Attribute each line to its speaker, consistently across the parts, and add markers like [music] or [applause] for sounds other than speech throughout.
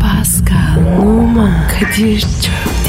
Speaker 1: Pascal, Oman, Kadir çok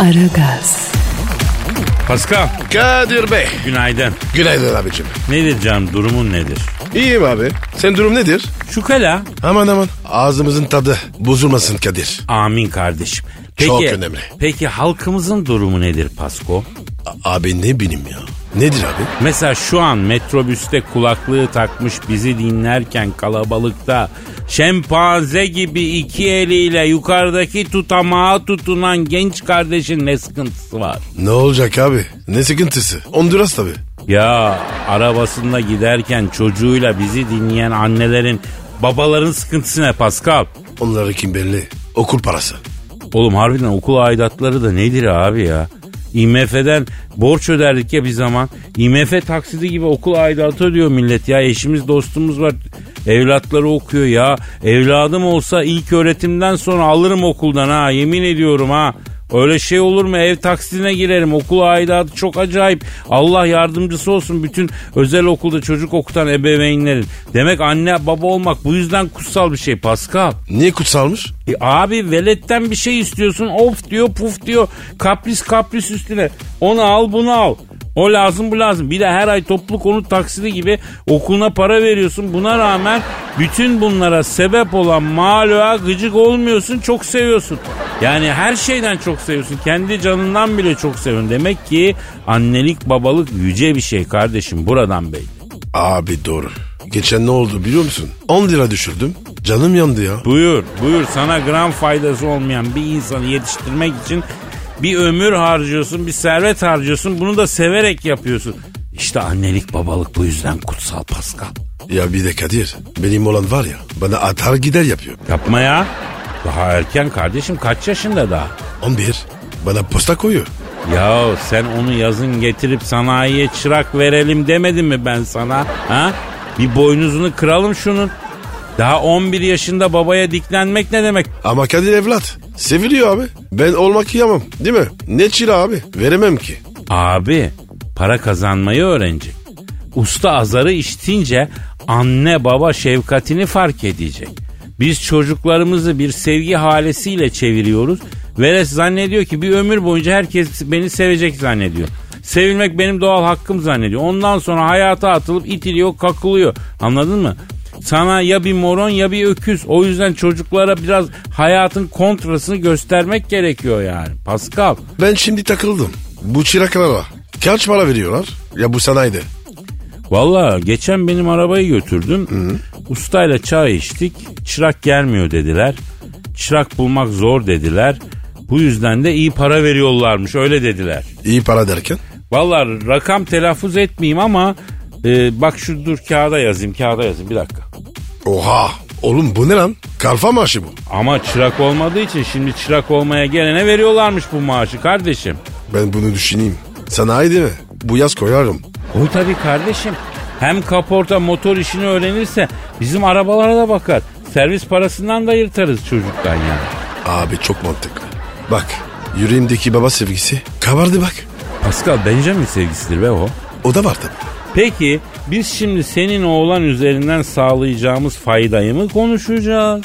Speaker 1: Aragaz,
Speaker 2: Pascal
Speaker 3: Kadir Bey.
Speaker 2: günaydın.
Speaker 3: Günaydın abicim.
Speaker 2: Nedir canım durumun nedir?
Speaker 3: İyiyim abi. Sen durum nedir?
Speaker 2: Şu kala.
Speaker 3: Aman aman. Ağzımızın tadı bozulmasın Kadir.
Speaker 2: Amin kardeşim.
Speaker 3: Çok önemli.
Speaker 2: Peki halkımızın durumu nedir Pasko?
Speaker 3: A- abi ne bileyim ya. Nedir abi?
Speaker 2: Mesela şu an metrobüste kulaklığı takmış bizi dinlerken kalabalıkta şempanze gibi iki eliyle yukarıdaki tutamağa tutunan genç kardeşin ne sıkıntısı var?
Speaker 3: Ne olacak abi? Ne sıkıntısı? Honduras tabi.
Speaker 2: Ya arabasında giderken çocuğuyla bizi dinleyen annelerin babaların sıkıntısı ne Pascal?
Speaker 3: Onları kim belli? Okul parası.
Speaker 2: Oğlum harbiden okul aidatları da nedir abi ya? IMF'den borç öderdik ya bir zaman. IMF taksidi gibi okul aidatı ödüyor millet ya. Eşimiz dostumuz var. Evlatları okuyor ya. Evladım olsa ilk öğretimden sonra alırım okuldan ha. Yemin ediyorum ha. Öyle şey olur mu? Ev taksidine girerim. Okul aidatı çok acayip. Allah yardımcısı olsun bütün özel okulda çocuk okutan ebeveynlerin. Demek anne baba olmak bu yüzden kutsal bir şey Pascal.
Speaker 3: Niye kutsalmış?
Speaker 2: E abi veletten bir şey istiyorsun of diyor puf diyor kapris kapris üstüne onu al bunu al o lazım bu lazım bir de her ay toplu konut taksidi gibi okuluna para veriyorsun buna rağmen bütün bunlara sebep olan maloğa gıcık olmuyorsun çok seviyorsun yani her şeyden çok seviyorsun kendi canından bile çok seviyorsun demek ki annelik babalık yüce bir şey kardeşim buradan belli.
Speaker 3: Abi doğru. Geçen ne oldu biliyor musun? 10 lira düşürdüm. Canım yandı ya.
Speaker 2: Buyur, buyur. Sana gram faydası olmayan bir insanı yetiştirmek için bir ömür harcıyorsun, bir servet harcıyorsun. Bunu da severek yapıyorsun. İşte annelik babalık bu yüzden kutsal Pascal.
Speaker 3: Ya bir de Kadir. Benim olan var ya. Bana atar gider yapıyor.
Speaker 2: Yapma ya. Daha erken kardeşim kaç yaşında daha?
Speaker 3: 11. Bana posta koyuyor.
Speaker 2: Ya sen onu yazın getirip sanayiye çırak verelim demedim mi ben sana? Ha? Bir boynuzunu kıralım şunun. Daha 11 yaşında babaya diklenmek ne demek?
Speaker 3: Ama Kadir evlat. Seviliyor abi. Ben olmak yiyemem değil mi? Ne çile abi? Veremem ki.
Speaker 2: Abi para kazanmayı öğrenecek. Usta azarı işitince anne baba şefkatini fark edecek. Biz çocuklarımızı bir sevgi halesiyle çeviriyoruz. Veres zannediyor ki bir ömür boyunca herkes beni sevecek zannediyor. Sevilmek benim doğal hakkım zannediyor. Ondan sonra hayata atılıp itiliyor, kakılıyor. Anladın mı? Sana ya bir moron ya bir öküz. O yüzden çocuklara biraz hayatın kontrasını göstermek gerekiyor yani. Pascal.
Speaker 3: Ben şimdi takıldım. Bu çıraklara kaç para veriyorlar? Ya bu sanayide.
Speaker 2: Valla geçen benim arabayı götürdüm. Ustayla çay içtik. Çırak gelmiyor dediler. Çırak bulmak zor dediler. Bu yüzden de iyi para veriyorlarmış öyle dediler.
Speaker 3: İyi para derken?
Speaker 2: Valla rakam telaffuz etmeyeyim ama e, bak şu dur kağıda yazayım kağıda yazayım bir dakika.
Speaker 3: Oha! Oğlum bu ne lan? Kalfa maaşı bu.
Speaker 2: Ama çırak olmadığı için şimdi çırak olmaya gelene veriyorlarmış bu maaşı kardeşim.
Speaker 3: Ben bunu düşüneyim. Sanayi değil mi? Bu yaz koyarım.
Speaker 2: Oy tabii kardeşim. Hem kaporta motor işini öğrenirse bizim arabalara da bakar. Servis parasından da yırtarız çocuktan yani.
Speaker 3: Abi çok mantıklı. Bak yüreğimdeki baba sevgisi kabardı bak.
Speaker 2: Pascal Benjamin sevgisidir be o.
Speaker 3: O da var tabii.
Speaker 2: Peki biz şimdi senin oğlan üzerinden sağlayacağımız faydayı mı konuşacağız?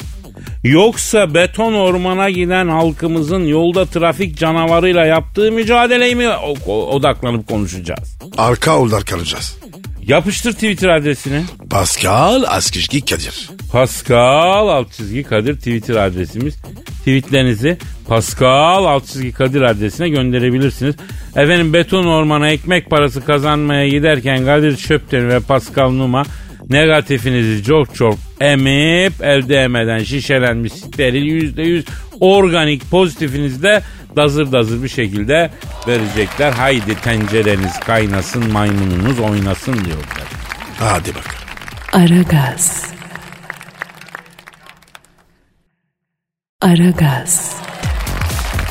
Speaker 2: Yoksa beton ormana giden halkımızın yolda trafik canavarıyla yaptığı mücadeleyi mi o- o- odaklanıp konuşacağız?
Speaker 3: Arka oldar kalacağız.
Speaker 2: Yapıştır Twitter adresini.
Speaker 3: Pascal Askışki Kadir.
Speaker 2: Pascal alt çizgi Kadir Twitter adresimiz. Tweetlerinizi Pascal alt çizgi Kadir adresine gönderebilirsiniz. Efendim beton ormana ekmek parası kazanmaya giderken Kadir Çöpten ve Pascal Numa negatifinizi çok çok emip elde emeden şişelenmiş steril %100 organik pozitifinizi de dazır dazır bir şekilde verecekler. Haydi tencereniz kaynasın maymununuz oynasın diyorlar.
Speaker 3: Hadi bak.
Speaker 1: Aragaz. Aragaz,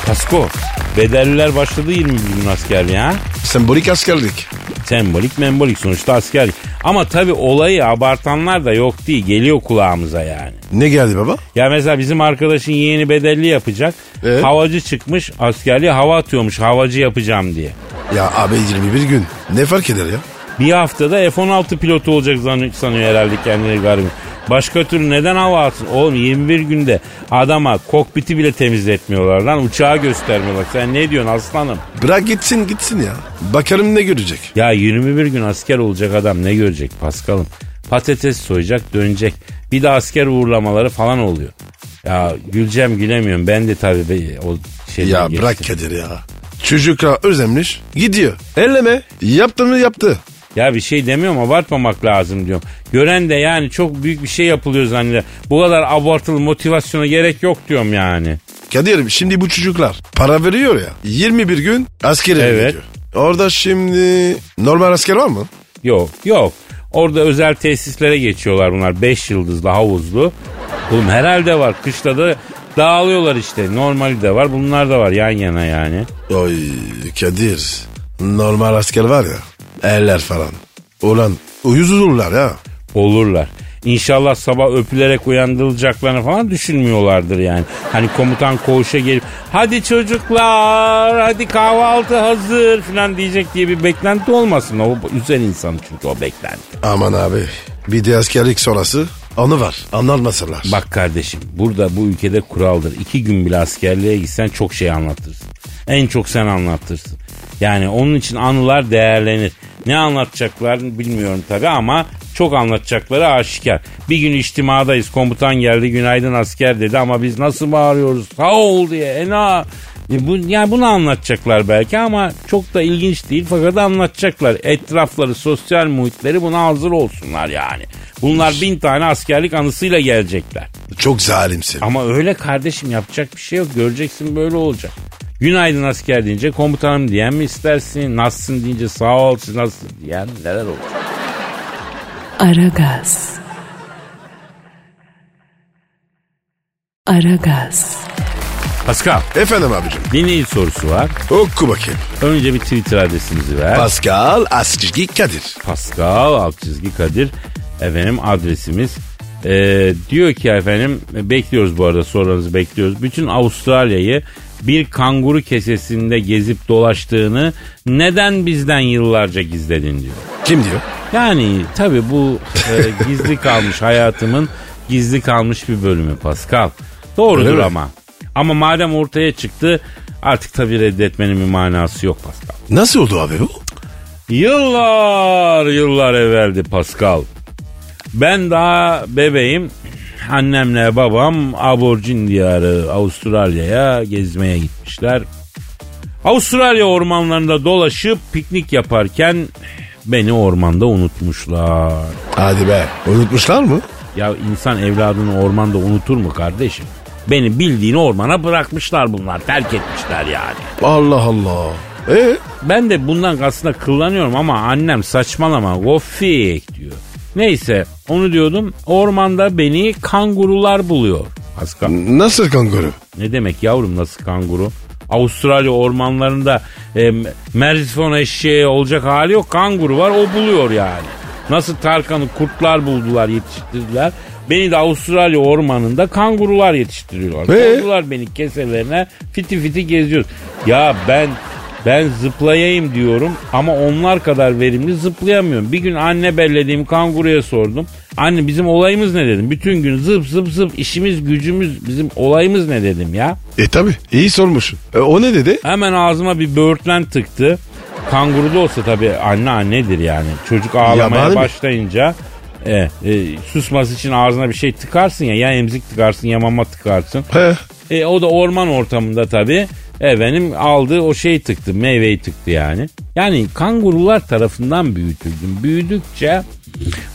Speaker 2: Pasko, bedelliler başladı 20 gün askerliğe ha.
Speaker 3: Sembolik askerlik.
Speaker 2: Sembolik membolik sonuçta askerlik. Ama tabii olayı abartanlar da yok değil. Geliyor kulağımıza yani.
Speaker 3: Ne geldi baba?
Speaker 2: Ya mesela bizim arkadaşın yeğeni bedelli yapacak.
Speaker 3: Ee?
Speaker 2: Havacı çıkmış askerliğe hava atıyormuş havacı yapacağım diye.
Speaker 3: Ya abi 21 gün. Ne fark eder ya?
Speaker 2: Bir haftada F-16 pilotu olacak zan- sanıyor herhalde kendini garibim. Başka türlü neden hava atsın? Oğlum 21 günde adama kokpiti bile temizletmiyorlar lan. Uçağı göstermiyorlar. Sen ne diyorsun aslanım?
Speaker 3: Bırak gitsin gitsin ya. Bakarım ne görecek.
Speaker 2: Ya 21 gün asker olacak adam ne görecek Paskal'ım? Patates soyacak dönecek. Bir de asker uğurlamaları falan oluyor. Ya güleceğim gülemiyorum. Ben de tabii be- o şeyden
Speaker 3: Ya
Speaker 2: geçtim.
Speaker 3: bırak Kadir ya. Çocukla özlemmiş gidiyor. Elleme. Yaptı mı yaptı.
Speaker 2: Ya bir şey demiyorum abartmamak lazım diyorum. Gören de yani çok büyük bir şey yapılıyor zannediyor. Bu kadar abartılı motivasyona gerek yok diyorum yani.
Speaker 3: Kadir şimdi bu çocuklar para veriyor ya. 21 gün askere
Speaker 2: Evet.
Speaker 3: gidiyor. Orada şimdi normal asker var mı?
Speaker 2: Yok yok. Orada özel tesislere geçiyorlar bunlar. Beş yıldızlı havuzlu. Oğlum herhalde var. Kışta da dağılıyorlar işte. Normali de var. Bunlar da var yan yana yani.
Speaker 3: Oy Kadir. Normal asker var ya. Eller falan. Ulan uyuz olurlar ya.
Speaker 2: Olurlar. İnşallah sabah öpülerek uyandırılacaklarını falan düşünmüyorlardır yani. Hani komutan koğuşa gelip hadi çocuklar hadi kahvaltı hazır falan diyecek diye bir beklenti olmasın. O üzen insanı çünkü o beklenti.
Speaker 3: Aman abi. Bir de askerlik sonrası anı var. Anlatmasınlar.
Speaker 2: Bak kardeşim burada bu ülkede kuraldır. İki gün bile askerliğe gitsen çok şey anlatırsın. En çok sen anlatırsın. Yani onun için anılar değerlenir. Ne anlatacaklar bilmiyorum tabii ama çok anlatacakları aşikar. Bir gün içtimadayız komutan geldi günaydın asker dedi ama biz nasıl bağırıyoruz sağ ol diye ena. E Bu, yani bunu anlatacaklar belki ama çok da ilginç değil fakat anlatacaklar. Etrafları, sosyal muhitleri buna hazır olsunlar yani. Bunlar bin tane askerlik anısıyla gelecekler.
Speaker 3: Çok zalimsin.
Speaker 2: Ama öyle kardeşim yapacak bir şey yok. Göreceksin böyle olacak. Günaydın asker deyince komutanım diyen mi istersin? Nasılsın deyince sağ ol siz nasılsın diyen neler olur?
Speaker 1: Aragaz. Aragaz,
Speaker 2: Pascal
Speaker 3: Efendim abicim.
Speaker 2: dinleyici sorusu var.
Speaker 3: Oku bakayım.
Speaker 2: Önce bir Twitter adresimizi ver.
Speaker 3: Pascal Askizgi Kadir.
Speaker 2: Pascal alt çizgi Kadir efendim adresimiz. Ee, diyor ki efendim bekliyoruz bu arada sorularınızı bekliyoruz. Bütün Avustralya'yı bir kanguru kesesinde gezip dolaştığını neden bizden yıllarca gizledin diyor.
Speaker 3: Kim diyor?
Speaker 2: Yani tabi bu e, gizli kalmış hayatımın gizli kalmış bir bölümü Pascal. Doğrudur
Speaker 3: Öyle mi?
Speaker 2: ama. Ama madem ortaya çıktı artık tabi reddetmenin bir manası yok Pascal.
Speaker 3: Nasıl oldu abi bu?
Speaker 2: Yıllar yıllar evveldi Pascal. Ben daha bebeğim. Annemle babam Aborjin diyarı Avustralya'ya gezmeye gitmişler. Avustralya ormanlarında dolaşıp piknik yaparken beni ormanda unutmuşlar.
Speaker 3: Hadi be. Unutmuşlar mı?
Speaker 2: Ya insan evladını ormanda unutur mu kardeşim? Beni bildiğini ormana bırakmışlar bunlar. Terk etmişler yani.
Speaker 3: Allah Allah. E
Speaker 2: Ben de bundan aslında kıllanıyorum ama annem saçmalama gofik diyor. Neyse onu diyordum ormanda beni kangurular buluyor. Pascal.
Speaker 3: nasıl kanguru?
Speaker 2: Ne demek yavrum nasıl kanguru? Avustralya ormanlarında e, merzifon eşeği olacak hali yok. Kanguru var o buluyor yani. Nasıl Tarkan'ı kurtlar buldular yetiştirdiler. Beni de Avustralya ormanında kangurular yetiştiriyorlar.
Speaker 3: Ee?
Speaker 2: Kangurular beni keselerine fiti fiti geziyoruz. Ya ben ben zıplayayım diyorum ama onlar kadar verimli zıplayamıyorum. Bir gün anne bellediğim kanguruya sordum. Anne bizim olayımız ne dedim. Bütün gün zıp zıp zıp işimiz gücümüz bizim olayımız ne dedim ya.
Speaker 3: E tabi. İyi sormuşsun. E, o ne dedi?
Speaker 2: Hemen ağzıma bir böğürtlen tıktı. Kanguru da olsa tabii anne annedir yani. Çocuk ağlamaya
Speaker 3: Yabani mi?
Speaker 2: başlayınca e, e, susması için ağzına bir şey tıkarsın ya. Ya emzik tıkarsın ya mama tıkarsın.
Speaker 3: He.
Speaker 2: E, o da orman ortamında tabii. Efendim aldığı o şeyi tıktı. Meyveyi tıktı yani. Yani kangurular tarafından büyütüldüm. Büyüdükçe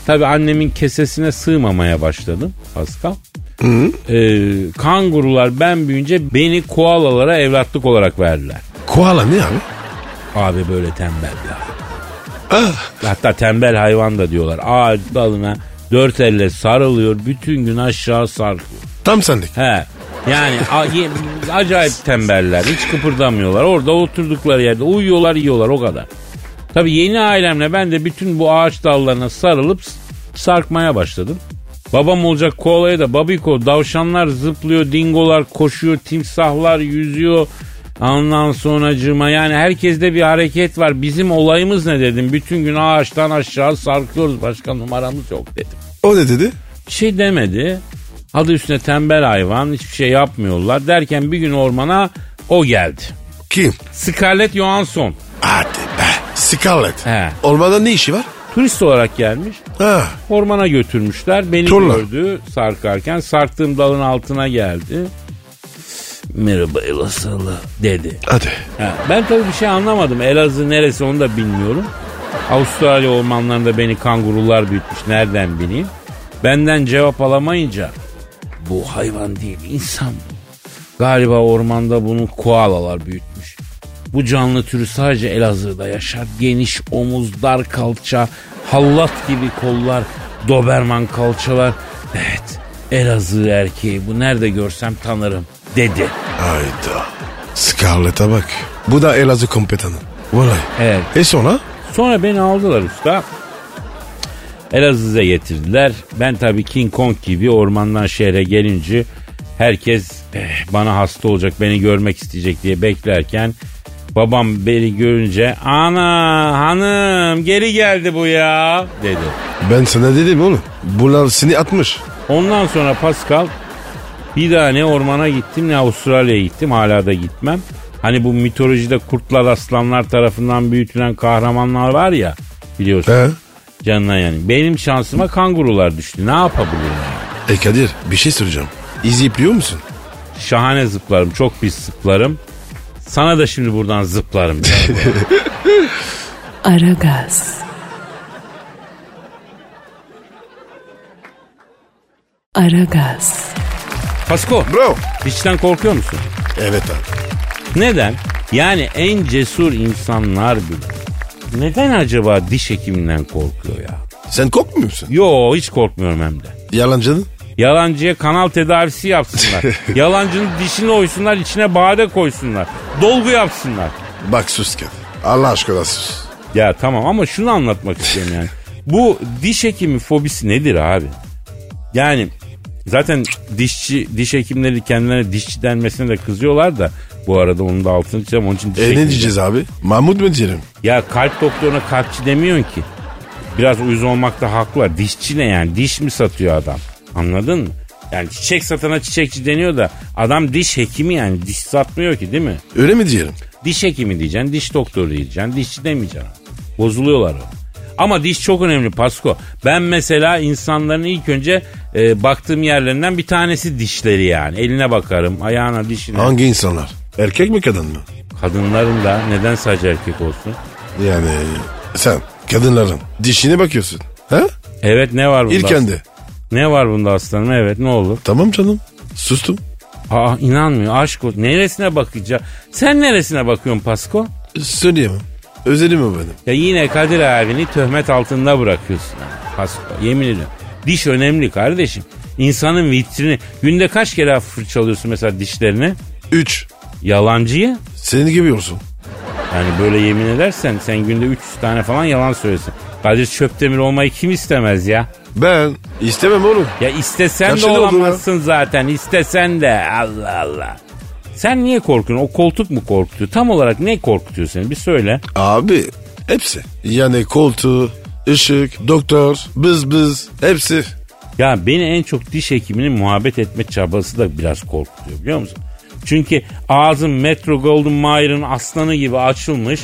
Speaker 2: tabii annemin kesesine sığmamaya başladım Pascal. E, kangurular ben büyüyünce beni koalalara evlatlık olarak verdiler.
Speaker 3: Koala ne abi?
Speaker 2: Abi böyle tembel ya.
Speaker 3: Ah,
Speaker 2: Hatta tembel hayvan da diyorlar. Ağaç dalına dört elle sarılıyor. Bütün gün aşağı sarkıyor.
Speaker 3: Tam sendik.
Speaker 2: He. Yani a- ye- acayip tembeller. Hiç kıpırdamıyorlar. Orada oturdukları yerde uyuyorlar yiyorlar o kadar. Tabii yeni ailemle ben de bütün bu ağaç dallarına sarılıp s- sarkmaya başladım. Babam olacak koalaya da babiko davşanlar zıplıyor, dingolar koşuyor, timsahlar yüzüyor. Ondan sonracığıma yani herkeste bir hareket var. Bizim olayımız ne dedim. Bütün gün ağaçtan aşağı sarkıyoruz. Başka numaramız yok dedim.
Speaker 3: O ne dedi?
Speaker 2: Bir şey demedi. Adı üstüne tembel hayvan hiçbir şey yapmıyorlar derken bir gün ormana o geldi.
Speaker 3: Kim?
Speaker 2: Scarlett Johansson
Speaker 3: Hadi be. Scarlett.
Speaker 2: He.
Speaker 3: Olmada ne işi var?
Speaker 2: turist olarak gelmiş.
Speaker 3: Ha.
Speaker 2: Ormana götürmüşler. Beni
Speaker 3: Turla.
Speaker 2: gördü sarkarken. Sarktığım dalın altına geldi. Merhaba Elazığlı dedi.
Speaker 3: Hadi.
Speaker 2: Ha, ben tabii bir şey anlamadım. Elazığ neresi onu da bilmiyorum. Avustralya ormanlarında beni kangurular büyütmüş. Nereden bileyim? Benden cevap alamayınca bu hayvan değil insan bu. Galiba ormanda bunu koalalar büyütmüş. Bu canlı türü sadece Elazığ'da yaşar. Geniş omuz, dar kalça, hallat gibi kollar, doberman kalçalar. Evet, Elazığ erkeği bu nerede görsem tanırım dedi.
Speaker 3: Hayda. Scarlett'a bak. Bu da Elazığ kompetanı. Vay.
Speaker 2: Evet.
Speaker 3: E sonra?
Speaker 2: Sonra beni aldılar usta. Elazığ'a getirdiler. Ben tabii King Kong gibi ormandan şehre gelince herkes eh, bana hasta olacak, beni görmek isteyecek diye beklerken babam beni görünce ana hanım geri geldi bu ya dedi.
Speaker 3: Ben sana dedim oğlum. Bunlar seni atmış.
Speaker 2: Ondan sonra Pascal bir daha ne ormana gittim ne Avustralya'ya gittim hala da gitmem. Hani bu mitolojide kurtlar aslanlar tarafından büyütülen kahramanlar var ya biliyorsun.
Speaker 3: He.
Speaker 2: Canına yani. Benim şansıma kangurular düştü. Ne yapabilirim?
Speaker 3: E Kadir bir şey soracağım. İzi ipliyor musun?
Speaker 2: Şahane zıplarım. Çok pis zıplarım. Sana da şimdi buradan zıplarım.
Speaker 1: Aragaz. Aragaz.
Speaker 2: Pasko.
Speaker 3: Bro.
Speaker 2: Hiçten korkuyor musun?
Speaker 3: Evet abi.
Speaker 2: Neden? Yani en cesur insanlar bile. Neden acaba diş hekiminden korkuyor ya?
Speaker 3: Sen kokmuyor musun?
Speaker 2: Yo hiç korkmuyorum hem de.
Speaker 3: Yalancının?
Speaker 2: Yalancıya kanal tedavisi yapsınlar. Yalancının dişini oysunlar içine bade koysunlar. Dolgu yapsınlar.
Speaker 3: Bak sus Kadir. Allah aşkına sus.
Speaker 2: Ya tamam ama şunu anlatmak istiyorum yani. Bu diş hekimi fobisi nedir abi? Yani zaten dişçi diş hekimleri kendilerine dişçi denmesine de kızıyorlar da bu arada onun da altını çizeceğim onun için diş
Speaker 3: E ne
Speaker 2: hekimi-
Speaker 3: diyeceğiz abi? Mahmut mu diyelim?
Speaker 2: Ya kalp doktoruna kalpçi demiyorsun ki. Biraz uyuz olmakta haklılar. Dişçi ne yani? Diş mi satıyor adam? Anladın mı? Yani çiçek satana çiçekçi deniyor da adam diş hekimi yani diş satmıyor ki değil mi?
Speaker 3: Öyle mi diyelim?
Speaker 2: Diş hekimi diyeceksin, diş doktoru diyeceksin, dişçi demeyeceksin. Bozuluyorlar o. Ama diş çok önemli Pasko. Ben mesela insanların ilk önce e, baktığım yerlerinden bir tanesi dişleri yani. Eline bakarım, ayağına, dişine.
Speaker 3: Hangi insanlar? Erkek mi kadın mı?
Speaker 2: Kadınların da neden sadece erkek olsun?
Speaker 3: Yani sen kadınların dişine bakıyorsun. Ha?
Speaker 2: Evet ne var bunda?
Speaker 3: İlken de.
Speaker 2: Ne var bunda aslanım? Evet ne olur?
Speaker 3: Tamam canım. Sustum.
Speaker 2: Aa inanmıyor aşk olsun. Neresine bakacağım? Sen neresine bakıyorsun Pasko?
Speaker 3: Söyleyemem. Özelim mi benim?
Speaker 2: Ya yine Kadir abini töhmet altında bırakıyorsun. ha, Pasko yemin ediyorum. Diş önemli kardeşim. İnsanın vitrini. Günde kaç kere fırçalıyorsun mesela dişlerini?
Speaker 3: Üç.
Speaker 2: Yalancıyı.
Speaker 3: Senin gibi olsun.
Speaker 2: Yani böyle yemin edersen sen günde 300 tane falan yalan söylesin. Kadir Çöptemir olmayı kim istemez ya?
Speaker 3: Ben istemem oğlum.
Speaker 2: Ya istesen
Speaker 3: Yaşlı
Speaker 2: de
Speaker 3: oldu ya.
Speaker 2: olamazsın zaten. İstesen de Allah Allah. Sen niye korkuyorsun? O koltuk mu korkutuyor? Tam olarak ne korkutuyor seni? Bir söyle.
Speaker 3: Abi hepsi. Yani koltuğu, ışık, doktor, bız bız hepsi.
Speaker 2: Ya beni en çok diş hekiminin muhabbet etme çabası da biraz korkutuyor biliyor musun? Çünkü ağzın Metro Golden Mayer'ın aslanı gibi açılmış,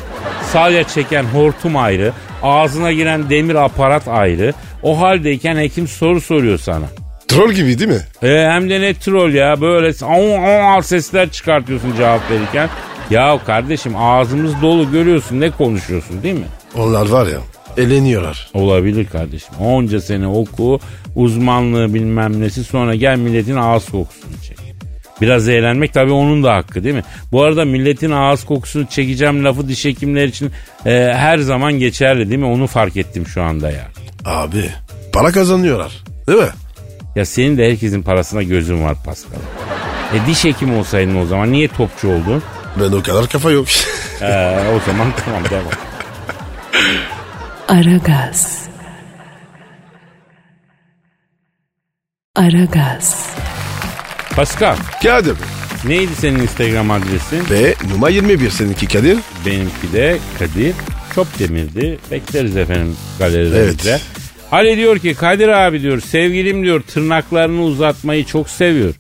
Speaker 2: salya çeken hortum ayrı, ağzına giren demir aparat ayrı. O haldeyken hekim soru soruyor sana.
Speaker 3: Troll gibi değil mi?
Speaker 2: E, hem de ne troll ya böyle s- on, on al sesler çıkartıyorsun cevap verirken. Ya kardeşim ağzımız dolu görüyorsun ne konuşuyorsun değil mi?
Speaker 3: Onlar var ya eleniyorlar.
Speaker 2: Olabilir kardeşim. Onca sene oku, uzmanlığı bilmem nesi sonra gel milletin ağız kokusunu çek. Biraz eğlenmek tabii onun da hakkı değil mi? Bu arada milletin ağız kokusunu çekeceğim lafı diş hekimler için e, her zaman geçerli değil mi? Onu fark ettim şu anda ya.
Speaker 3: Abi para kazanıyorlar değil mi?
Speaker 2: Ya senin de herkesin parasına gözün var Pascal. E, diş hekimi olsaydın o zaman niye topçu oldun?
Speaker 3: Ben o kadar kafa yok. [laughs]
Speaker 2: Ee, o zaman [laughs] tamam devam.
Speaker 1: Aragaz. Aragaz.
Speaker 2: Pascal
Speaker 3: Kadir.
Speaker 2: neydi senin Instagram adresin?
Speaker 3: Ve numara 21 seninki Kadir.
Speaker 2: Benimki de Kadir Çopdemir'di. Bekleriz efendim galerilerimizde.
Speaker 3: Evet.
Speaker 2: Ali diyor ki Kadir abi diyor sevgilim diyor tırnaklarını uzatmayı çok seviyor.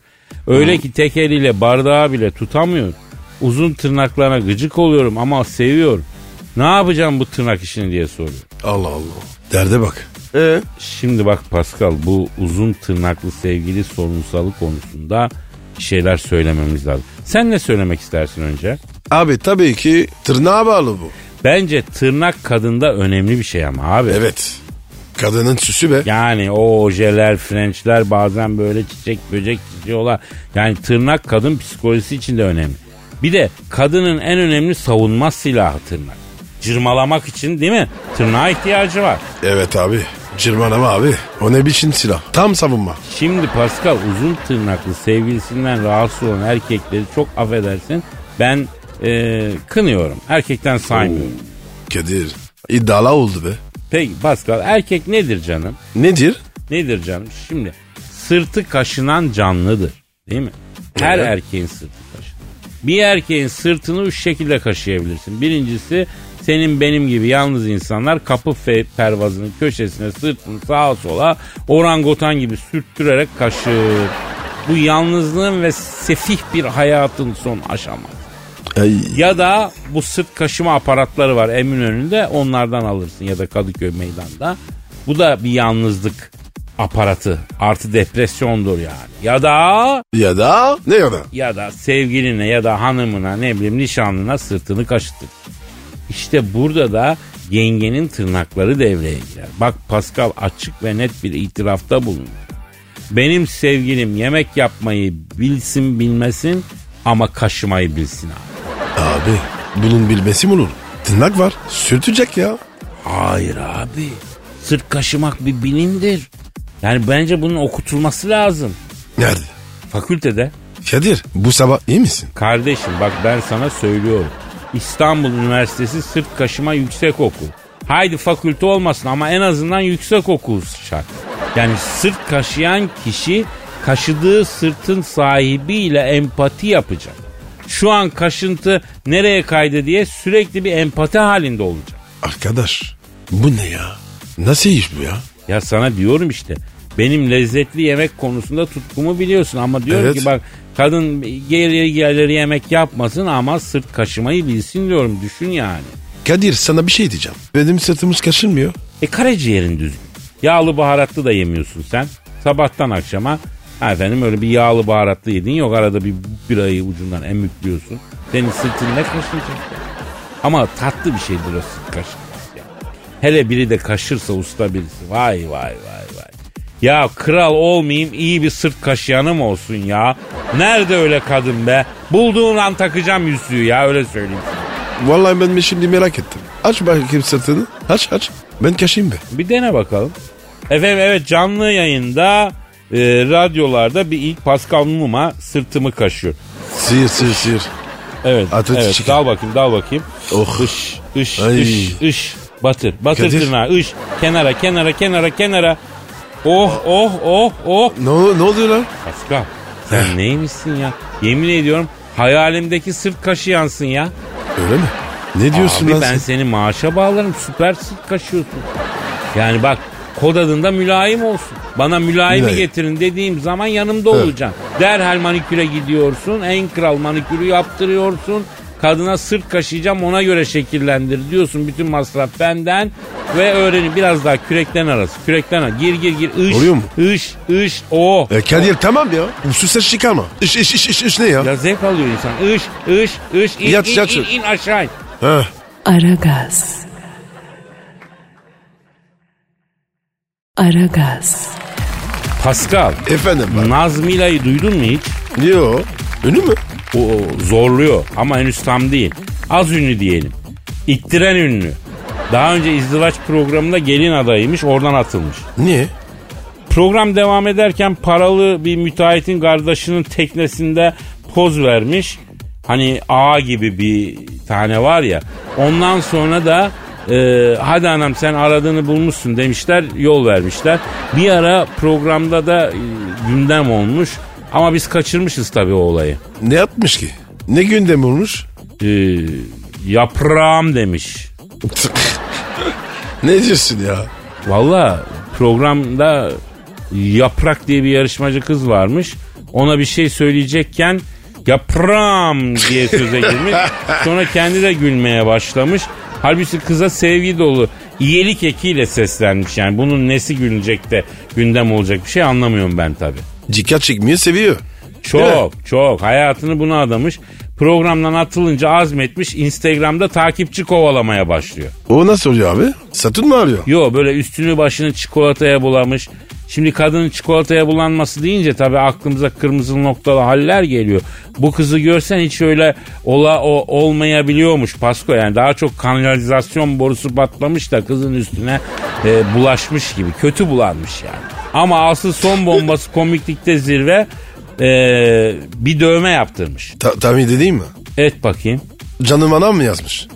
Speaker 2: Öyle ki tek eliyle bardağı bile tutamıyor. Uzun tırnaklarına gıcık oluyorum ama seviyorum. Ne yapacağım bu tırnak işini diye soruyor.
Speaker 3: Allah Allah. Derde bak. Ee?
Speaker 2: Şimdi bak Pascal bu uzun tırnaklı sevgili sorunsalı konusunda bir şeyler söylememiz lazım. Sen ne söylemek istersin önce?
Speaker 3: Abi tabii ki tırnağa bağlı bu.
Speaker 2: Bence tırnak kadında önemli bir şey ama abi.
Speaker 3: Evet. Kadının süsü be.
Speaker 2: Yani o ojeler, frençler bazen böyle çiçek böcek çiziyorlar. Yani tırnak kadın psikolojisi için de önemli. Bir de kadının en önemli savunma silahı tırnak. Cırmalamak için değil mi? Tırnağa ihtiyacı var.
Speaker 3: Evet abi. Cırmanama abi. O ne biçim silah? Tam savunma.
Speaker 2: Şimdi Pascal uzun tırnaklı sevgilisinden rahatsız olan erkekleri çok affedersin. Ben e, kınıyorum. Erkekten saymıyorum.
Speaker 3: Kadir. İddialı oldu be.
Speaker 2: Peki Pascal erkek nedir canım?
Speaker 3: Nedir?
Speaker 2: Nedir canım? Şimdi sırtı kaşınan canlıdır. Değil mi? Her
Speaker 3: Evet.
Speaker 2: erkeğin sırtı kaşınır. Bir erkeğin sırtını üç şekilde kaşıyabilirsin. Birincisi senin benim gibi yalnız insanlar kapı fe- pervazının köşesine sırtını sağa sola orangotan gibi sürttürerek kaşır. Bu yalnızlığın ve sefih bir hayatın son aşaması.
Speaker 3: Ay.
Speaker 2: Ya da bu sırt kaşıma aparatları var Eminönü'nde onlardan alırsın ya da Kadıköy meydanda. Bu da bir yalnızlık aparatı artı depresyondur yani. Ya da
Speaker 3: Ya da ne ya da?
Speaker 2: ya da sevgiline ya da hanımına ne bileyim nişanlına sırtını kaşıtır. İşte burada da yengenin tırnakları devreye girer. Bak Pascal açık ve net bir itirafta bulunur. Benim sevgilim yemek yapmayı bilsin bilmesin ama kaşımayı bilsin abi.
Speaker 3: Abi bunun bilmesi mi olur? Tırnak var. Sürtecek ya.
Speaker 2: Hayır abi. Sırt kaşımak bir bilimdir. Yani bence bunun okutulması lazım.
Speaker 3: Nerede?
Speaker 2: Fakültede.
Speaker 3: Kadir bu sabah iyi misin?
Speaker 2: Kardeşim bak ben sana söylüyorum. İstanbul Üniversitesi sırt kaşıma yüksek okul. Haydi fakülte olmasın ama en azından yüksek okul şart. Yani sırt kaşıyan kişi kaşıdığı sırtın sahibiyle empati yapacak. Şu an kaşıntı nereye kaydı diye sürekli bir empati halinde olacak.
Speaker 3: Arkadaş bu ne ya? Nasıl iş bu ya?
Speaker 2: Ya sana diyorum işte. Benim lezzetli yemek konusunda tutkumu biliyorsun ama diyorum
Speaker 3: Evet.
Speaker 2: ki bak kadın geri gelir yemek yapmasın ama sırt kaşımayı bilsin diyorum düşün yani.
Speaker 3: Kadir sana bir şey diyeceğim. Benim sırtımız kaşınmıyor.
Speaker 2: E karaciğerin düzgün. Yağlı baharatlı da yemiyorsun sen. Sabahtan akşama ha efendim öyle bir yağlı baharatlı yedin yok arada bir birayı ucundan emüklüyorsun. Senin sırtın ne kaşınacak ya? Ama tatlı bir şeydir o sırt kaşınması ya. Hele biri de kaşırsa usta birisi. Vay vay vay vay. Ya kral olmayayım iyi bir sırt kaşıyanım olsun ya. Nerede öyle kadın be? Bulduğun an takacağım yüzüğü ya öyle söyleyeyim.
Speaker 3: Vallahi ben mi şimdi merak ettim. Aç bakayım sırtını. Aç aç. Ben kaşıyım be.
Speaker 2: Bir dene bakalım. Efendim evet canlı yayında e, radyolarda bir ilk Pascal Numa sırtımı kaşıyor.
Speaker 3: Sıyır sıyır sıyır.
Speaker 2: Evet.
Speaker 3: Atletik
Speaker 2: evet.
Speaker 3: çıkar.
Speaker 2: Dal bakayım dal bakayım.
Speaker 3: Oh.
Speaker 2: Iş iş
Speaker 3: Ay.
Speaker 2: iş iş. Batır. Batır
Speaker 3: Kadir.
Speaker 2: tırnağı. Iş. Kenara kenara kenara kenara. Oh oh oh oh.
Speaker 3: Ne, ol- ne oluyor lan?
Speaker 2: Pascal sen neymişsin ya? Yemin ediyorum hayalimdeki sırt kaşıyansın ya.
Speaker 3: Öyle mi? Ne diyorsun
Speaker 2: Abi
Speaker 3: lan
Speaker 2: ben
Speaker 3: sen?
Speaker 2: seni maaşa bağlarım süper sırt kaşıyorsun. Yani bak kod adında mülayim olsun. Bana mülayimi
Speaker 3: Mülayim.
Speaker 2: getirin dediğim zaman yanımda olacaksın. Derhal maniküre gidiyorsun. En kral manikürü yaptırıyorsun. Kadına sırt kaşıyacağım ona göre şekillendir diyorsun. Bütün masraf benden ve öğrenin biraz daha kürekten arası. Kürekten arası. Gir gir gir. Iş,
Speaker 3: Oluyor mu?
Speaker 2: iş, iş. O.
Speaker 3: E, Kadir tamam ya. Uçsuz ses çıkarma. İş iş iş iş, iş ne ya?
Speaker 2: Ya zevk alıyor insan. Iş, iş, iş. İn,
Speaker 3: Yat,
Speaker 2: in,
Speaker 3: yat
Speaker 2: in,
Speaker 3: şöyle.
Speaker 2: in aşağı in.
Speaker 3: Ha.
Speaker 1: Aragaz. Aragaz.
Speaker 2: Pascal.
Speaker 3: Efendim bak.
Speaker 2: Nazmila'yı duydun mu hiç?
Speaker 3: Yo. Ünlü mü?
Speaker 2: O, o zorluyor ama henüz tam değil. Az ünlü diyelim. İttiren ünlü. Daha önce izdivaç programında gelin adayıymış oradan atılmış.
Speaker 3: Niye?
Speaker 2: Program devam ederken paralı bir müteahhitin kardeşinin teknesinde poz vermiş. Hani A gibi bir tane var ya. Ondan sonra da e, hadi anam sen aradığını bulmuşsun demişler yol vermişler. Bir ara programda da e, gündem olmuş. Ama biz kaçırmışız tabii o olayı.
Speaker 3: Ne yapmış ki? Ne gündem olmuş?
Speaker 2: E, yaprağım demiş.
Speaker 3: ne diyorsun ya?
Speaker 2: Valla programda Yaprak diye bir yarışmacı kız varmış. Ona bir şey söyleyecekken yapram diye söze girmiş. Sonra kendi de gülmeye başlamış. Halbuki kıza sevgi dolu iyilik ekiyle seslenmiş. Yani bunun nesi gülünecek de gündem olacak bir şey anlamıyorum ben tabii.
Speaker 3: Dikkat çekmeyi seviyor. Değil
Speaker 2: Çok çok hayatını buna adamış. Programdan atılınca azmetmiş Instagram'da takipçi kovalamaya başlıyor.
Speaker 3: O nasıl oluyor abi? Satın mı arıyor?
Speaker 2: Yo böyle üstünü başını çikolataya bulamış. Şimdi kadının çikolataya bulanması deyince tabii aklımıza kırmızı noktalı haller geliyor. Bu kızı görsen hiç öyle ola o olmayabiliyormuş Pasko yani daha çok kanalizasyon borusu patlamış da kızın üstüne e, bulaşmış gibi kötü bulanmış yani. Ama asıl son bombası komiklikte zirve e, bir dövme yaptırmış.
Speaker 3: Ta- tahmin dediğim mi?
Speaker 2: Et bakayım.
Speaker 3: Canım anam mı yazmış?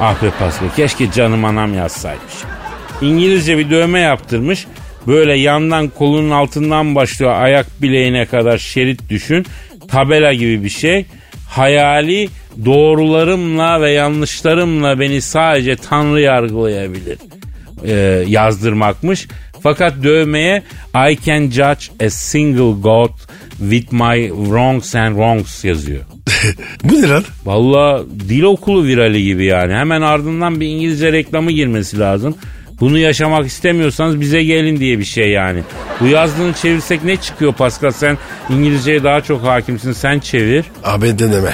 Speaker 2: Ah be Pasko keşke canım anam yazsaymış. İngilizce bir dövme yaptırmış. Böyle yandan kolunun altından başlıyor ayak bileğine kadar şerit düşün. Tabela gibi bir şey. Hayali doğrularımla ve yanlışlarımla beni sadece Tanrı yargılayabilir e, yazdırmakmış. Fakat dövmeye I can judge a single God with my wrongs and wrongs yazıyor.
Speaker 3: Bu ne lan?
Speaker 2: Valla dil okulu virali gibi yani. Hemen ardından bir İngilizce reklamı girmesi lazım. Bunu yaşamak istemiyorsanız bize gelin diye bir şey yani. Bu yazdığını çevirsek ne çıkıyor Pascal? Sen İngilizceye daha çok hakimsin. Sen çevir.
Speaker 3: Abi deneme.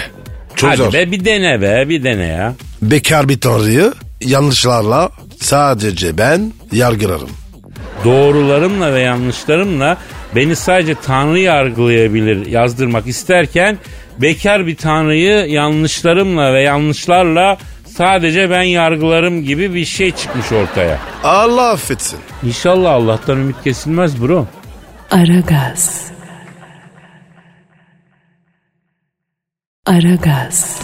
Speaker 3: Çok
Speaker 2: Hadi
Speaker 3: zor.
Speaker 2: be bir dene be bir dene ya.
Speaker 3: Bekar bir tanrıyı yanlışlarla sadece ben yargılarım.
Speaker 2: Doğrularımla ve yanlışlarımla beni sadece Tanrı yargılayabilir yazdırmak isterken bekar bir Tanrı'yı yanlışlarımla ve yanlışlarla sadece ben yargılarım gibi bir şey çıkmış ortaya.
Speaker 3: Allah affetsin.
Speaker 2: İnşallah Allah'tan ümit kesilmez bro.
Speaker 1: Aragaz. Aragaz.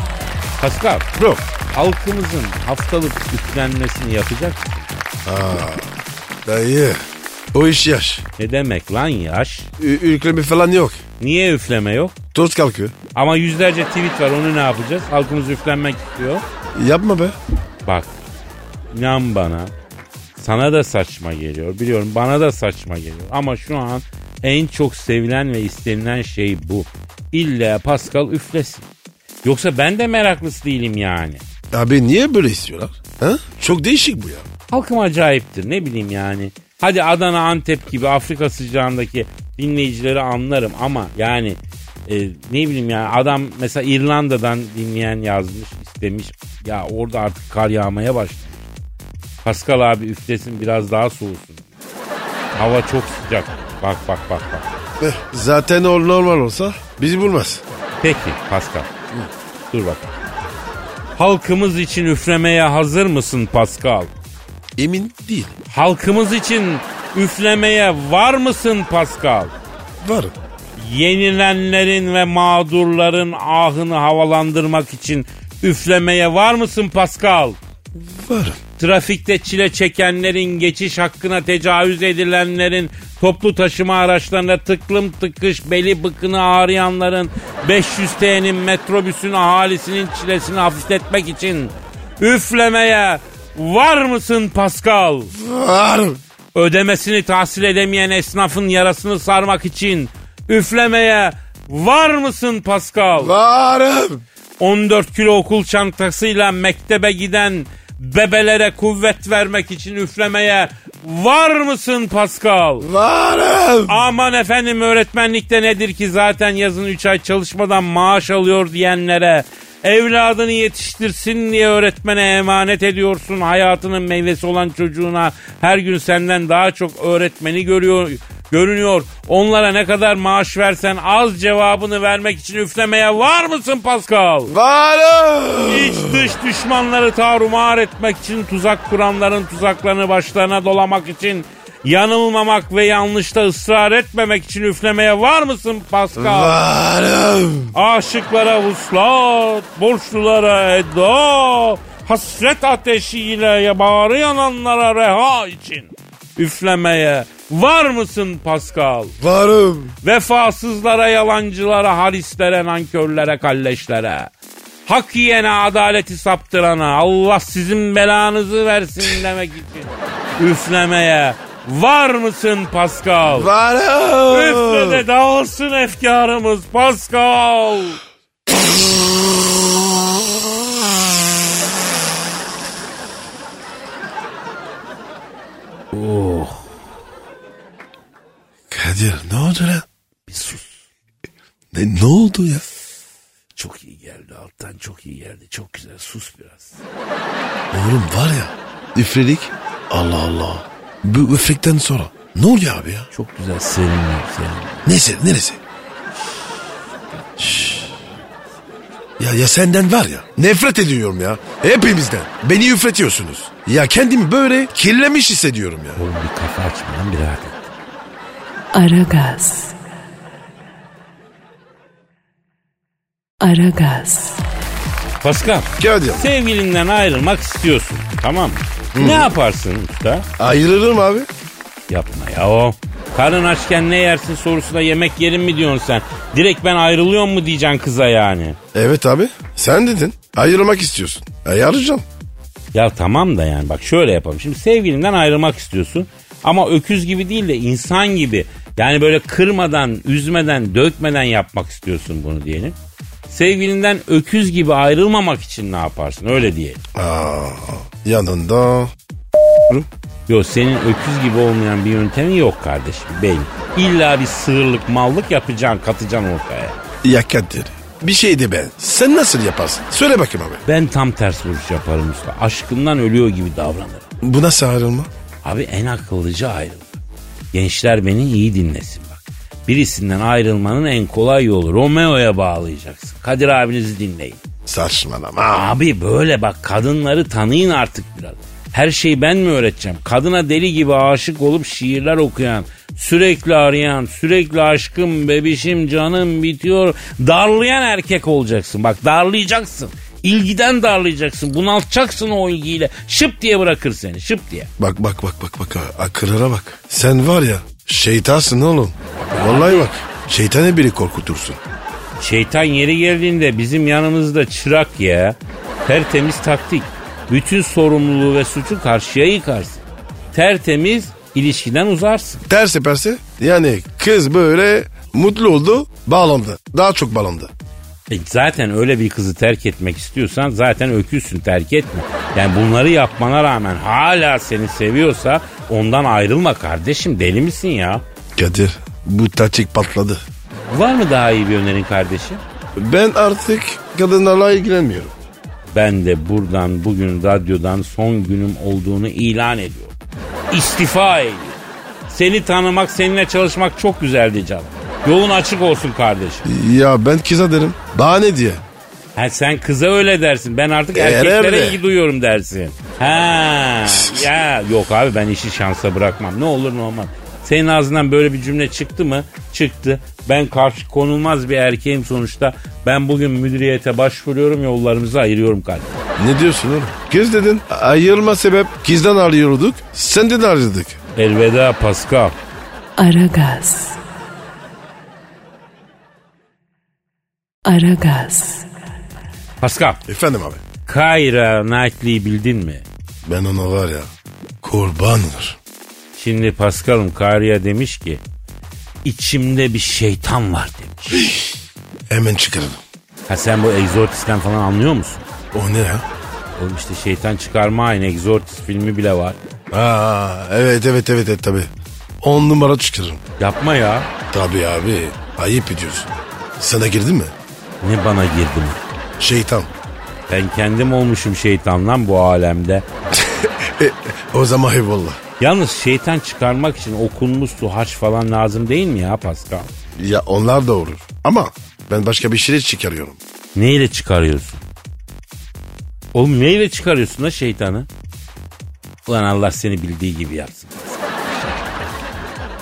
Speaker 2: Pascal,
Speaker 3: Bro
Speaker 2: halkımızın haftalık yüklenmesini yapacak. mısın?
Speaker 3: dayı o iş yaş.
Speaker 2: Ne demek lan yaş?
Speaker 3: Ü- ükleme falan yok.
Speaker 2: Niye üfleme yok?
Speaker 3: Toz kalkıyor.
Speaker 2: Ama yüzlerce tweet var onu ne yapacağız? Halkımız üflenmek istiyor.
Speaker 3: Yapma be.
Speaker 2: Bak, inan bana. Sana da saçma geliyor biliyorum bana da saçma geliyor. Ama şu an en çok sevilen ve istenilen şey bu. İlla Pascal üflesin. Yoksa ben de meraklısı değilim yani.
Speaker 3: Abi niye böyle istiyorlar? Ha? Çok değişik bu ya.
Speaker 2: Halkım acayiptir ne bileyim yani. Hadi Adana, Antep gibi Afrika sıcağındaki dinleyicileri anlarım ama yani e, ne bileyim yani adam mesela İrlanda'dan dinleyen yazmış istemiş. Ya orada artık kar yağmaya başladı. Pascal abi üflesin biraz daha soğusun. Hava çok sıcak. Bak bak bak bak.
Speaker 3: Eh, zaten o normal olsa bizi bulmaz.
Speaker 2: Peki Pascal. Dur bak. Halkımız için üflemeye hazır mısın Pascal?
Speaker 3: Emin değil.
Speaker 2: Halkımız için üflemeye var mısın Pascal?
Speaker 3: Var.
Speaker 2: Yenilenlerin ve mağdurların ahını havalandırmak için üflemeye var mısın Pascal?
Speaker 3: Var.
Speaker 2: Trafikte çile çekenlerin, geçiş hakkına tecavüz edilenlerin, toplu taşıma araçlarına tıklım tıkış beli bıkını ağrıyanların, 500 T'nin metrobüsün ahalisinin çilesini hafifletmek için üflemeye var mısın Pascal?
Speaker 3: Var.
Speaker 2: ödemesini tahsil edemeyen esnafın yarasını sarmak için üflemeye var mısın Pascal?
Speaker 3: Varım.
Speaker 2: 14 kilo okul çantasıyla mektebe giden bebelere kuvvet vermek için üflemeye var mısın Pascal?
Speaker 3: Varım.
Speaker 2: Aman efendim öğretmenlikte nedir ki zaten yazın 3 ay çalışmadan maaş alıyor diyenlere evladını yetiştirsin diye öğretmene emanet ediyorsun. Hayatının meyvesi olan çocuğuna her gün senden daha çok öğretmeni görüyor görünüyor. Onlara ne kadar maaş versen az cevabını vermek için üflemeye var mısın Pascal?
Speaker 3: Varım.
Speaker 2: İç dış düşmanları tarumar etmek için tuzak kuranların tuzaklarını başlarına dolamak için Yanılmamak ve yanlışta ısrar etmemek için üflemeye var mısın Pascal?
Speaker 3: Varım.
Speaker 2: Aşıklara vuslat, borçlulara eda, hasret ateşiyle ya- bağrı yananlara reha için üflemeye var mısın Pascal?
Speaker 3: Varım.
Speaker 2: Vefasızlara, yalancılara, harislere, nankörlere, kalleşlere. Hak yiyene, adaleti saptırana, Allah sizin belanızı versin demek için üflemeye var mısın Pascal? Üfle de
Speaker 3: Varım.
Speaker 2: dağılsın efkarımız Pascal.
Speaker 3: Oh. Kadir ne oldu lan?
Speaker 2: Bir sus.
Speaker 3: Ne, ne oldu ya?
Speaker 2: Çok iyi geldi alttan çok iyi geldi. Çok güzel sus biraz.
Speaker 3: Oğlum var ya. Üfledik. Allah Allah. Bu üflekten sonra. Ne oluyor abi ya?
Speaker 2: Çok güzel serinliyor serinliyor.
Speaker 3: Neyse neresi? Şşş. Ya, ya senden var ya nefret ediyorum ya. Hepimizden. Beni üfletiyorsunuz. Ya kendimi böyle kirlemiş hissediyorum ya.
Speaker 2: Oğlum bir kafa açma lan birader.
Speaker 1: Aragaz. Aragaz.
Speaker 2: Pascal
Speaker 3: Kadir
Speaker 2: sevgilinden ayrılmak istiyorsun tamam mı? Ne yaparsın usta?
Speaker 3: ayrılırım abi.
Speaker 2: Yapma ya o. Karın açken ne yersin sorusuna yemek yerim mi diyorsun sen? Direkt ben ayrılıyor mu diyeceksin kıza yani?
Speaker 3: Evet abi sen dedin ayrılmak istiyorsun. E arayacağım.
Speaker 2: Ya tamam da yani bak şöyle yapalım. Şimdi sevgilinden ayrılmak istiyorsun. Ama öküz gibi değil de insan gibi. Yani böyle kırmadan, üzmeden, dökmeden yapmak istiyorsun bunu diyelim. Sevgilinden öküz gibi ayrılmamak için ne yaparsın öyle diyelim.
Speaker 3: Aa, yanında
Speaker 2: Yok senin öküz gibi olmayan bir yöntemin yok kardeşim benim. İlla bir sığırlık mallık yapacaksın katacaksın ortaya.
Speaker 3: ya Kadir bir şey de ben. Sen nasıl yaparsın? Söyle bakayım abi.
Speaker 2: Ben tam ters vuruş yaparım usta. Aşkından ölüyor gibi davranırım.
Speaker 3: Bu nasıl ayrılma?
Speaker 2: Abi en akıllıca ayrılmak. Gençler beni iyi dinlesin bak. Birisinden ayrılmanın en kolay yolu Romeo'ya bağlayacaksın. Kadir abinizi dinleyin.
Speaker 3: Saçmalama.
Speaker 2: Abi böyle bak kadınları tanıyın artık biraz. Her şeyi ben mi öğreteceğim? Kadına deli gibi aşık olup şiirler okuyan, sürekli arayan, sürekli aşkım, bebişim, canım bitiyor. Darlayan erkek olacaksın. Bak darlayacaksın. İlgiden darlayacaksın. Bunaltacaksın o ilgiyle. Şıp diye bırakır seni. Şıp diye.
Speaker 3: Bak bak bak bak bak akırlara bak. Sen var ya şeytansın oğlum. Vallahi bak şeytanı biri korkutursun.
Speaker 2: Şeytan yeri geldiğinde bizim yanımızda çırak ya. Tertemiz taktik. Bütün sorumluluğu ve suçu karşıya yıkarsın. Tertemiz ilişkiden uzarsın.
Speaker 3: Ters yaparsa yani kız böyle mutlu oldu bağlandı. Daha çok bağlandı.
Speaker 2: E zaten öyle bir kızı terk etmek istiyorsan zaten öküzsün terk etme. Yani bunları yapmana rağmen hala seni seviyorsa ondan ayrılma kardeşim deli misin ya?
Speaker 3: Kadir bu taktik patladı.
Speaker 2: Var mı daha iyi bir önerin kardeşim?
Speaker 3: Ben artık kadınlarla ilgilenmiyorum.
Speaker 2: Ben de buradan bugün radyodan son günüm olduğunu ilan ediyorum. İstifa ediyorum. Seni tanımak, seninle çalışmak çok güzeldi canım. Yolun açık olsun kardeşim.
Speaker 3: Ya ben kıza derim. Bahane diye.
Speaker 2: Ha, sen kıza öyle dersin. Ben artık
Speaker 3: Eğer
Speaker 2: erkeklere
Speaker 3: öyle.
Speaker 2: ilgi duyuyorum dersin. Ha ya yok abi ben işi şansa bırakmam. Ne olur ne olmaz. Senin ağzından böyle bir cümle çıktı mı? Çıktı. Ben karşı konulmaz bir erkeğim sonuçta. Ben bugün müdüriyete başvuruyorum yollarımızı ayırıyorum kardeşim.
Speaker 3: Ne diyorsun oğlum? Kız dedin. Ayırma sebep kızdan arıyorduk. Senden arıyorduk.
Speaker 2: Elveda Pascal.
Speaker 1: Aragaz. Aragaz.
Speaker 2: Pascal.
Speaker 3: Efendim abi.
Speaker 2: Kayra Knightley'i bildin mi?
Speaker 3: Ben ona var ya kurban olur.
Speaker 2: Şimdi Pascal'ım Kayra'ya demiş ki içimde bir şeytan var demiş.
Speaker 3: Hemen çıkaralım.
Speaker 2: Ha sen bu egzortisten falan anlıyor musun?
Speaker 3: O ne ya?
Speaker 2: Oğlum işte şeytan çıkarma aynı egzortist filmi bile var.
Speaker 3: Aa, evet evet evet, evet tabi. On numara çıkarırım.
Speaker 2: Yapma ya.
Speaker 3: Tabi abi ayıp ediyorsun. Sana girdi mi?
Speaker 2: Ne bana girdi mi?
Speaker 3: Şeytan.
Speaker 2: Ben kendim olmuşum şeytan lan bu alemde.
Speaker 3: E, o zaman eyvallah.
Speaker 2: Yalnız şeytan çıkarmak için okunmuş su haç falan lazım değil mi ya Pascal?
Speaker 3: Ya onlar da olur. Ama ben başka bir şey çıkarıyorum.
Speaker 2: Neyle çıkarıyorsun? Oğlum neyle çıkarıyorsun da şeytanı? Ulan Allah seni bildiği gibi yapsın.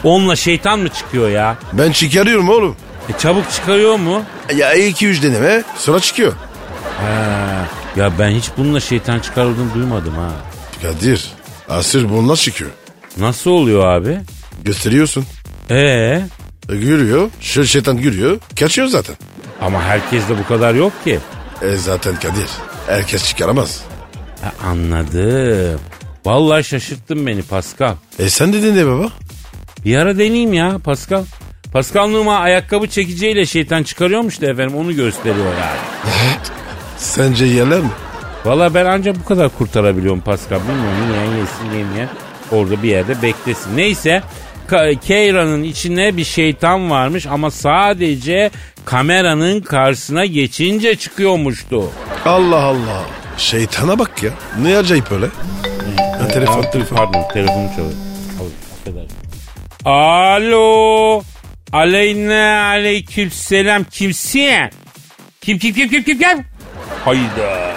Speaker 2: Onunla şeytan mı çıkıyor ya?
Speaker 3: Ben çıkarıyorum oğlum.
Speaker 2: E çabuk çıkarıyor mu?
Speaker 3: Ya 2-3 deneme sıra çıkıyor.
Speaker 2: Ha, ya ben hiç bununla şeytan çıkarıldığını duymadım ha.
Speaker 3: Kadir asır bunlar çıkıyor.
Speaker 2: Nasıl oluyor abi?
Speaker 3: Gösteriyorsun.
Speaker 2: Ee,
Speaker 3: E, Yürüyor. Şu şeytan yürüyor. Kaçıyor zaten.
Speaker 2: ama herkes de bu kadar yok ki.
Speaker 3: E zaten Kadir. Herkes çıkaramaz.
Speaker 2: Ha, anladım. Vallahi şaşırttın beni Pascal.
Speaker 3: E sen dedin ne baba?
Speaker 2: Bir ara deneyeyim ya Pascal. Pascal Numa ayakkabı çekiciyle şeytan çıkarıyormuş da efendim onu gösteriyor yani.
Speaker 3: Sence yerler mi?
Speaker 2: Valla ben ancak bu kadar kurtarabiliyorum Pascal. Bilmiyorum yiyen yesin yemeyen orada bir yerde beklesin. Neyse Ka- Keyra'nın içine bir şeytan varmış ama sadece kameranın karşısına geçince çıkıyormuştu.
Speaker 3: Allah Allah. Şeytana bak ya. Ne acayip öyle. Ha, telefon telefon.
Speaker 2: Pardon telefonum çalıyor. Al, affedersin. Alo. Aleyna aleyküm selam. Kimsin? Kim kim kim kim kim kim? Hayda.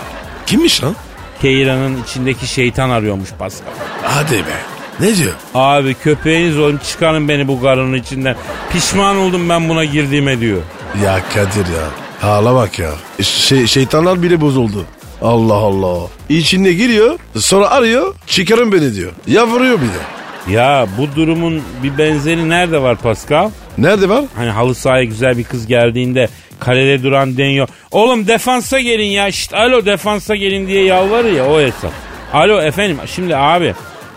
Speaker 3: Kimmiş lan?
Speaker 2: Keyra'nın içindeki şeytan arıyormuş Pascal.
Speaker 3: Hadi be. Ne diyor?
Speaker 2: Abi köpeğiniz olun çıkarın beni bu karının içinden. Pişman oldum ben buna girdiğime diyor.
Speaker 3: Ya Kadir ya. Hala bak ya. Şey, şeytanlar bile bozuldu. Allah Allah. İçinde giriyor. Sonra arıyor. Çıkarın beni diyor. Ya vuruyor bir de.
Speaker 2: Ya bu durumun bir benzeri nerede var Pascal?
Speaker 3: Nerede var?
Speaker 2: Hani halı sahaya güzel bir kız geldiğinde kalede duran deniyor. Oğlum defansa gelin ya. Şşt alo defansa gelin diye yalvarır ya o hesap. Alo efendim şimdi abi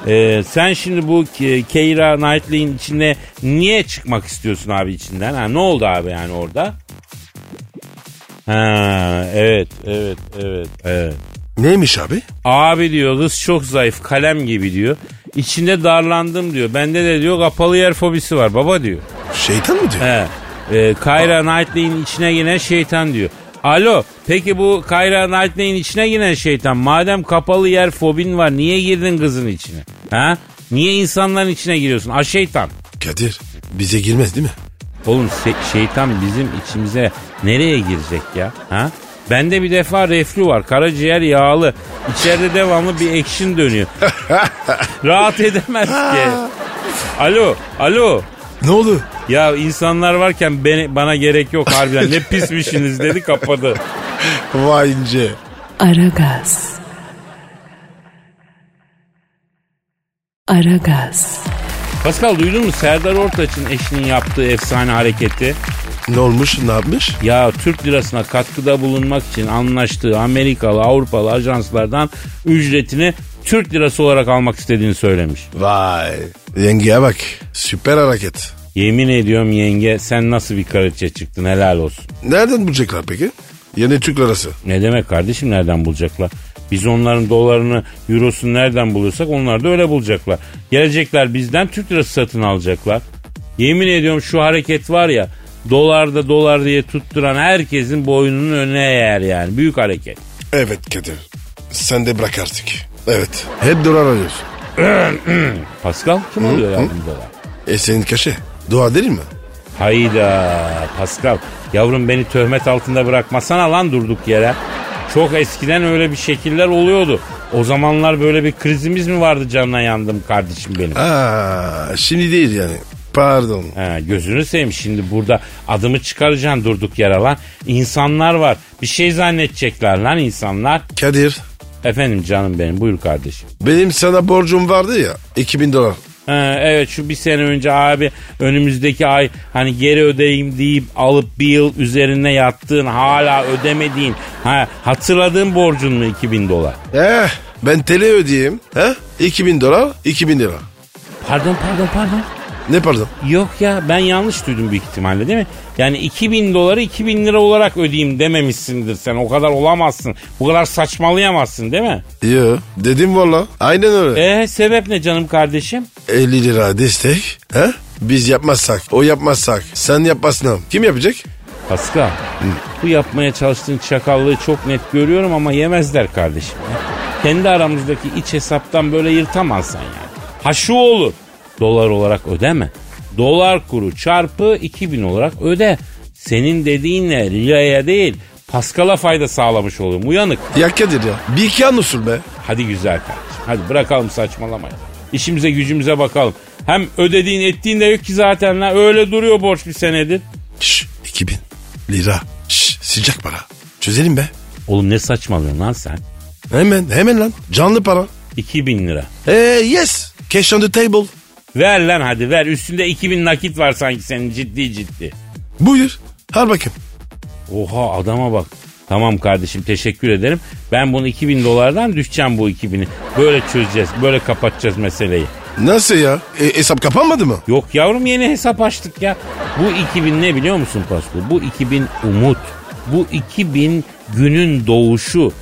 Speaker 2: e, sen şimdi bu Ke- Keira Knightley'in içine niye çıkmak istiyorsun abi içinden? Ha, ne oldu abi yani orada? Ha, evet evet evet evet.
Speaker 3: Neymiş abi?
Speaker 2: Abi diyor kız çok zayıf kalem gibi diyor. İçinde darlandım diyor. Bende de diyor kapalı yer fobisi var baba diyor.
Speaker 3: Şeytan mı diyor?
Speaker 2: He. E, Kayra Knightley'in içine giren şeytan diyor. Alo peki bu Kayra Knightley'in içine giren şeytan madem kapalı yer fobin var niye girdin kızın içine? Ha? Niye insanların içine giriyorsun? A şeytan.
Speaker 3: Kadir bize girmez değil mi?
Speaker 2: Oğlum se- şeytan bizim içimize nereye girecek ya? Ha? Bende bir defa reflü var. Karaciğer yağlı. İçeride devamlı bir ekşin dönüyor. Rahat edemez ki. Alo, alo.
Speaker 3: Ne oldu?
Speaker 2: Ya insanlar varken beni, bana gerek yok harbiden. Ne pismişsiniz dedi kapadı.
Speaker 3: Vay ince.
Speaker 1: Aragaz. Aragaz.
Speaker 2: Pascal duydun mu Serdar Ortaç'ın eşinin yaptığı efsane hareketi?
Speaker 3: Ne olmuş ne yapmış?
Speaker 2: Ya Türk lirasına katkıda bulunmak için anlaştığı Amerikalı, Avrupalı ajanslardan ücretini Türk lirası olarak almak istediğini söylemiş.
Speaker 3: Vay. Yengeye bak. Süper hareket.
Speaker 2: Yemin ediyorum yenge sen nasıl bir kraliçe çıktın helal olsun.
Speaker 3: Nereden bulacaklar peki? Yeni Türk lirası.
Speaker 2: Ne demek kardeşim nereden bulacaklar? Biz onların dolarını, eurosunu nereden buluyorsak onlar da öyle bulacaklar. Gelecekler bizden Türk lirası satın alacaklar. Yemin ediyorum şu hareket var ya dolarda dolar diye tutturan herkesin boynunun önüne eğer yani. Büyük hareket.
Speaker 3: Evet Kadir. Sen de bırak artık. Evet. Hep dolar arıyorsun.
Speaker 2: Pascal kim oluyor ya bu dolar?
Speaker 3: E senin kaşe. Doğa değil mi?
Speaker 2: Hayda Pascal yavrum beni töhmet altında bırakmasana lan durduk yere. Çok eskiden öyle bir şekiller oluyordu. O zamanlar böyle bir krizimiz mi vardı canına yandım kardeşim benim.
Speaker 3: Aa, şimdi değil yani. Pardon.
Speaker 2: Ha, gözünü seveyim şimdi burada adımı çıkaracaksın durduk yere lan. İnsanlar var bir şey zannedecekler lan insanlar.
Speaker 3: Kadir.
Speaker 2: Efendim canım benim buyur kardeşim.
Speaker 3: Benim sana borcum vardı ya. 2000 dolar.
Speaker 2: Ha, evet şu bir sene önce abi önümüzdeki ay hani geri ödeyeyim deyip alıp bir yıl üzerine yattığın hala ödemediğin ha, hatırladığın borcun mu 2000 dolar?
Speaker 3: Eh, ben TL ödeyeyim. He? 2000 dolar, 2000 lira.
Speaker 2: Pardon pardon pardon.
Speaker 3: Ne pardon?
Speaker 2: Yok ya ben yanlış duydum büyük ihtimalle değil mi? Yani 2000 doları 2000 lira olarak ödeyeyim dememişsindir sen. O kadar olamazsın. Bu kadar saçmalayamazsın değil mi?
Speaker 3: Yo, dedim valla. Aynen öyle.
Speaker 2: Ee sebep ne canım kardeşim?
Speaker 3: 50 lira destek. He? Biz yapmazsak, o yapmazsak, sen yapmazsan kim yapacak?
Speaker 2: Pascal bu yapmaya çalıştığın çakallığı çok net görüyorum ama yemezler kardeşim. ya. Kendi aramızdaki iç hesaptan böyle yırtamazsan yani. Ha şu olur. Dolar olarak ödeme. Dolar kuru çarpı 2000 olarak öde. Senin dediğinle liraya değil Pascal'a fayda sağlamış oluyorum. Uyanık.
Speaker 3: Ya Kadir ya, bir iki an usul be.
Speaker 2: Hadi güzel kardeşim. Hadi bırakalım saçmalamayı. İşimize gücümüze bakalım. Hem ödediğin ettiğin de yok ki zaten lan. Öyle duruyor borç bir senedir.
Speaker 3: Şş, 2000 lira. Şş, sıcak para. Çözelim be.
Speaker 2: Oğlum ne saçmalıyorsun lan sen?
Speaker 3: Hemen hemen lan. Canlı para.
Speaker 2: 2000 lira.
Speaker 3: Ee, yes. Cash on the table.
Speaker 2: Ver lan hadi ver. Üstünde 2000 nakit var sanki senin ciddi ciddi.
Speaker 3: Buyur. Al bakayım.
Speaker 2: Oha adama bak. Tamam kardeşim teşekkür ederim. Ben bunu 2000 dolardan düşeceğim bu 2000'i. Böyle çözeceğiz. Böyle kapatacağız meseleyi.
Speaker 3: Nasıl ya? E, hesap kapanmadı mı?
Speaker 2: Yok yavrum yeni hesap açtık ya. Bu 2000 ne biliyor musun Pasko? Bu 2000 umut. Bu 2000 günün doğuşu.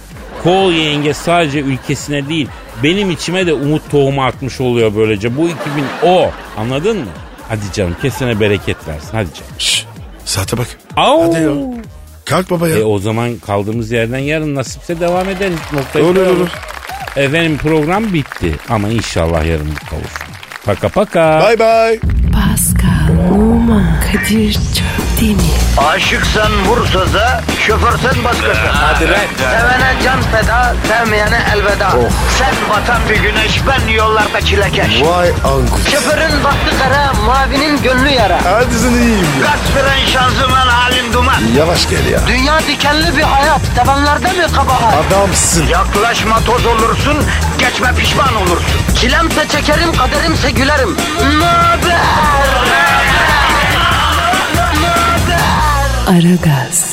Speaker 2: Kol yenge sadece ülkesine değil benim içime de umut tohumu atmış oluyor böylece. Bu 2000 o anladın mı? Hadi canım kesene bereket versin hadi canım.
Speaker 3: Şş, saate bak.
Speaker 2: Au!
Speaker 3: Hadi ya. Kalk baba ya.
Speaker 2: E o zaman kaldığımız yerden yarın nasipse devam ederiz. Noktayı
Speaker 3: olur
Speaker 2: koyalım.
Speaker 3: olur.
Speaker 2: Efendim program bitti ama inşallah yarın kavuşur. Paka paka.
Speaker 3: Bye bye.
Speaker 1: Pascal, Oman, Kadir çok değil mi?
Speaker 4: Aşıksan vursa da, şoförsen başkasın. Hadi
Speaker 2: lan.
Speaker 4: Sevene can feda, sevmeyene elveda. Sen batan bir güneş, ben yollarda çilekeş.
Speaker 3: Vay anku.
Speaker 4: Şoförün baktı kara, mavinin gönlü yara.
Speaker 3: Hadi sen iyiyim ya.
Speaker 4: Kasperen şanzıman halin duman.
Speaker 3: Yavaş gel ya.
Speaker 4: Dünya dikenli bir hayat, sevenlerde mi kabahar?
Speaker 3: Adamsın.
Speaker 4: Yaklaşma toz olursun, geçme pişman olursun. Çilemse çekerim, kaderimse gülerim. Möber!
Speaker 1: Aragaz.